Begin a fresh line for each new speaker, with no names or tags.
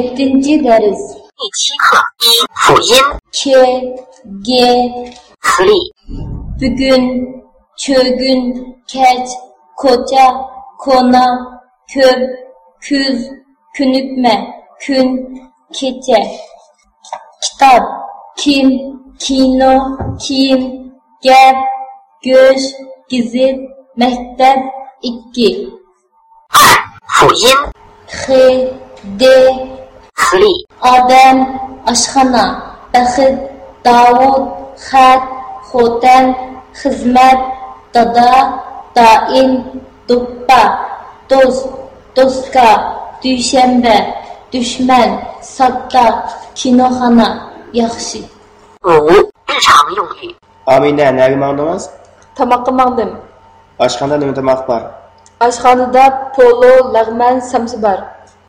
Yedinci ders.
第七课一辅音
K, G,
词例
bugün, çögün, keç, koca, kona, köp, küz, künükme, kün, keçe. Kitap, kim, kino, kim, gep, göç, gizit, mektep, ikki.
辅音
H, D,
词例
Adem, aşhana, Behid, Davud, Had, Hotem, Hizmet, Dada, Daim, Dubba, Dost, Dostka, Düşembe, Düşmen, Satta, Kinohana, Yakşı.
五日常用语
Amine, ne gümandınız?
Тамаққа маңдым.
Aşkanda nümdüm akbar.
Ашханада поло, лагман, самсы бар.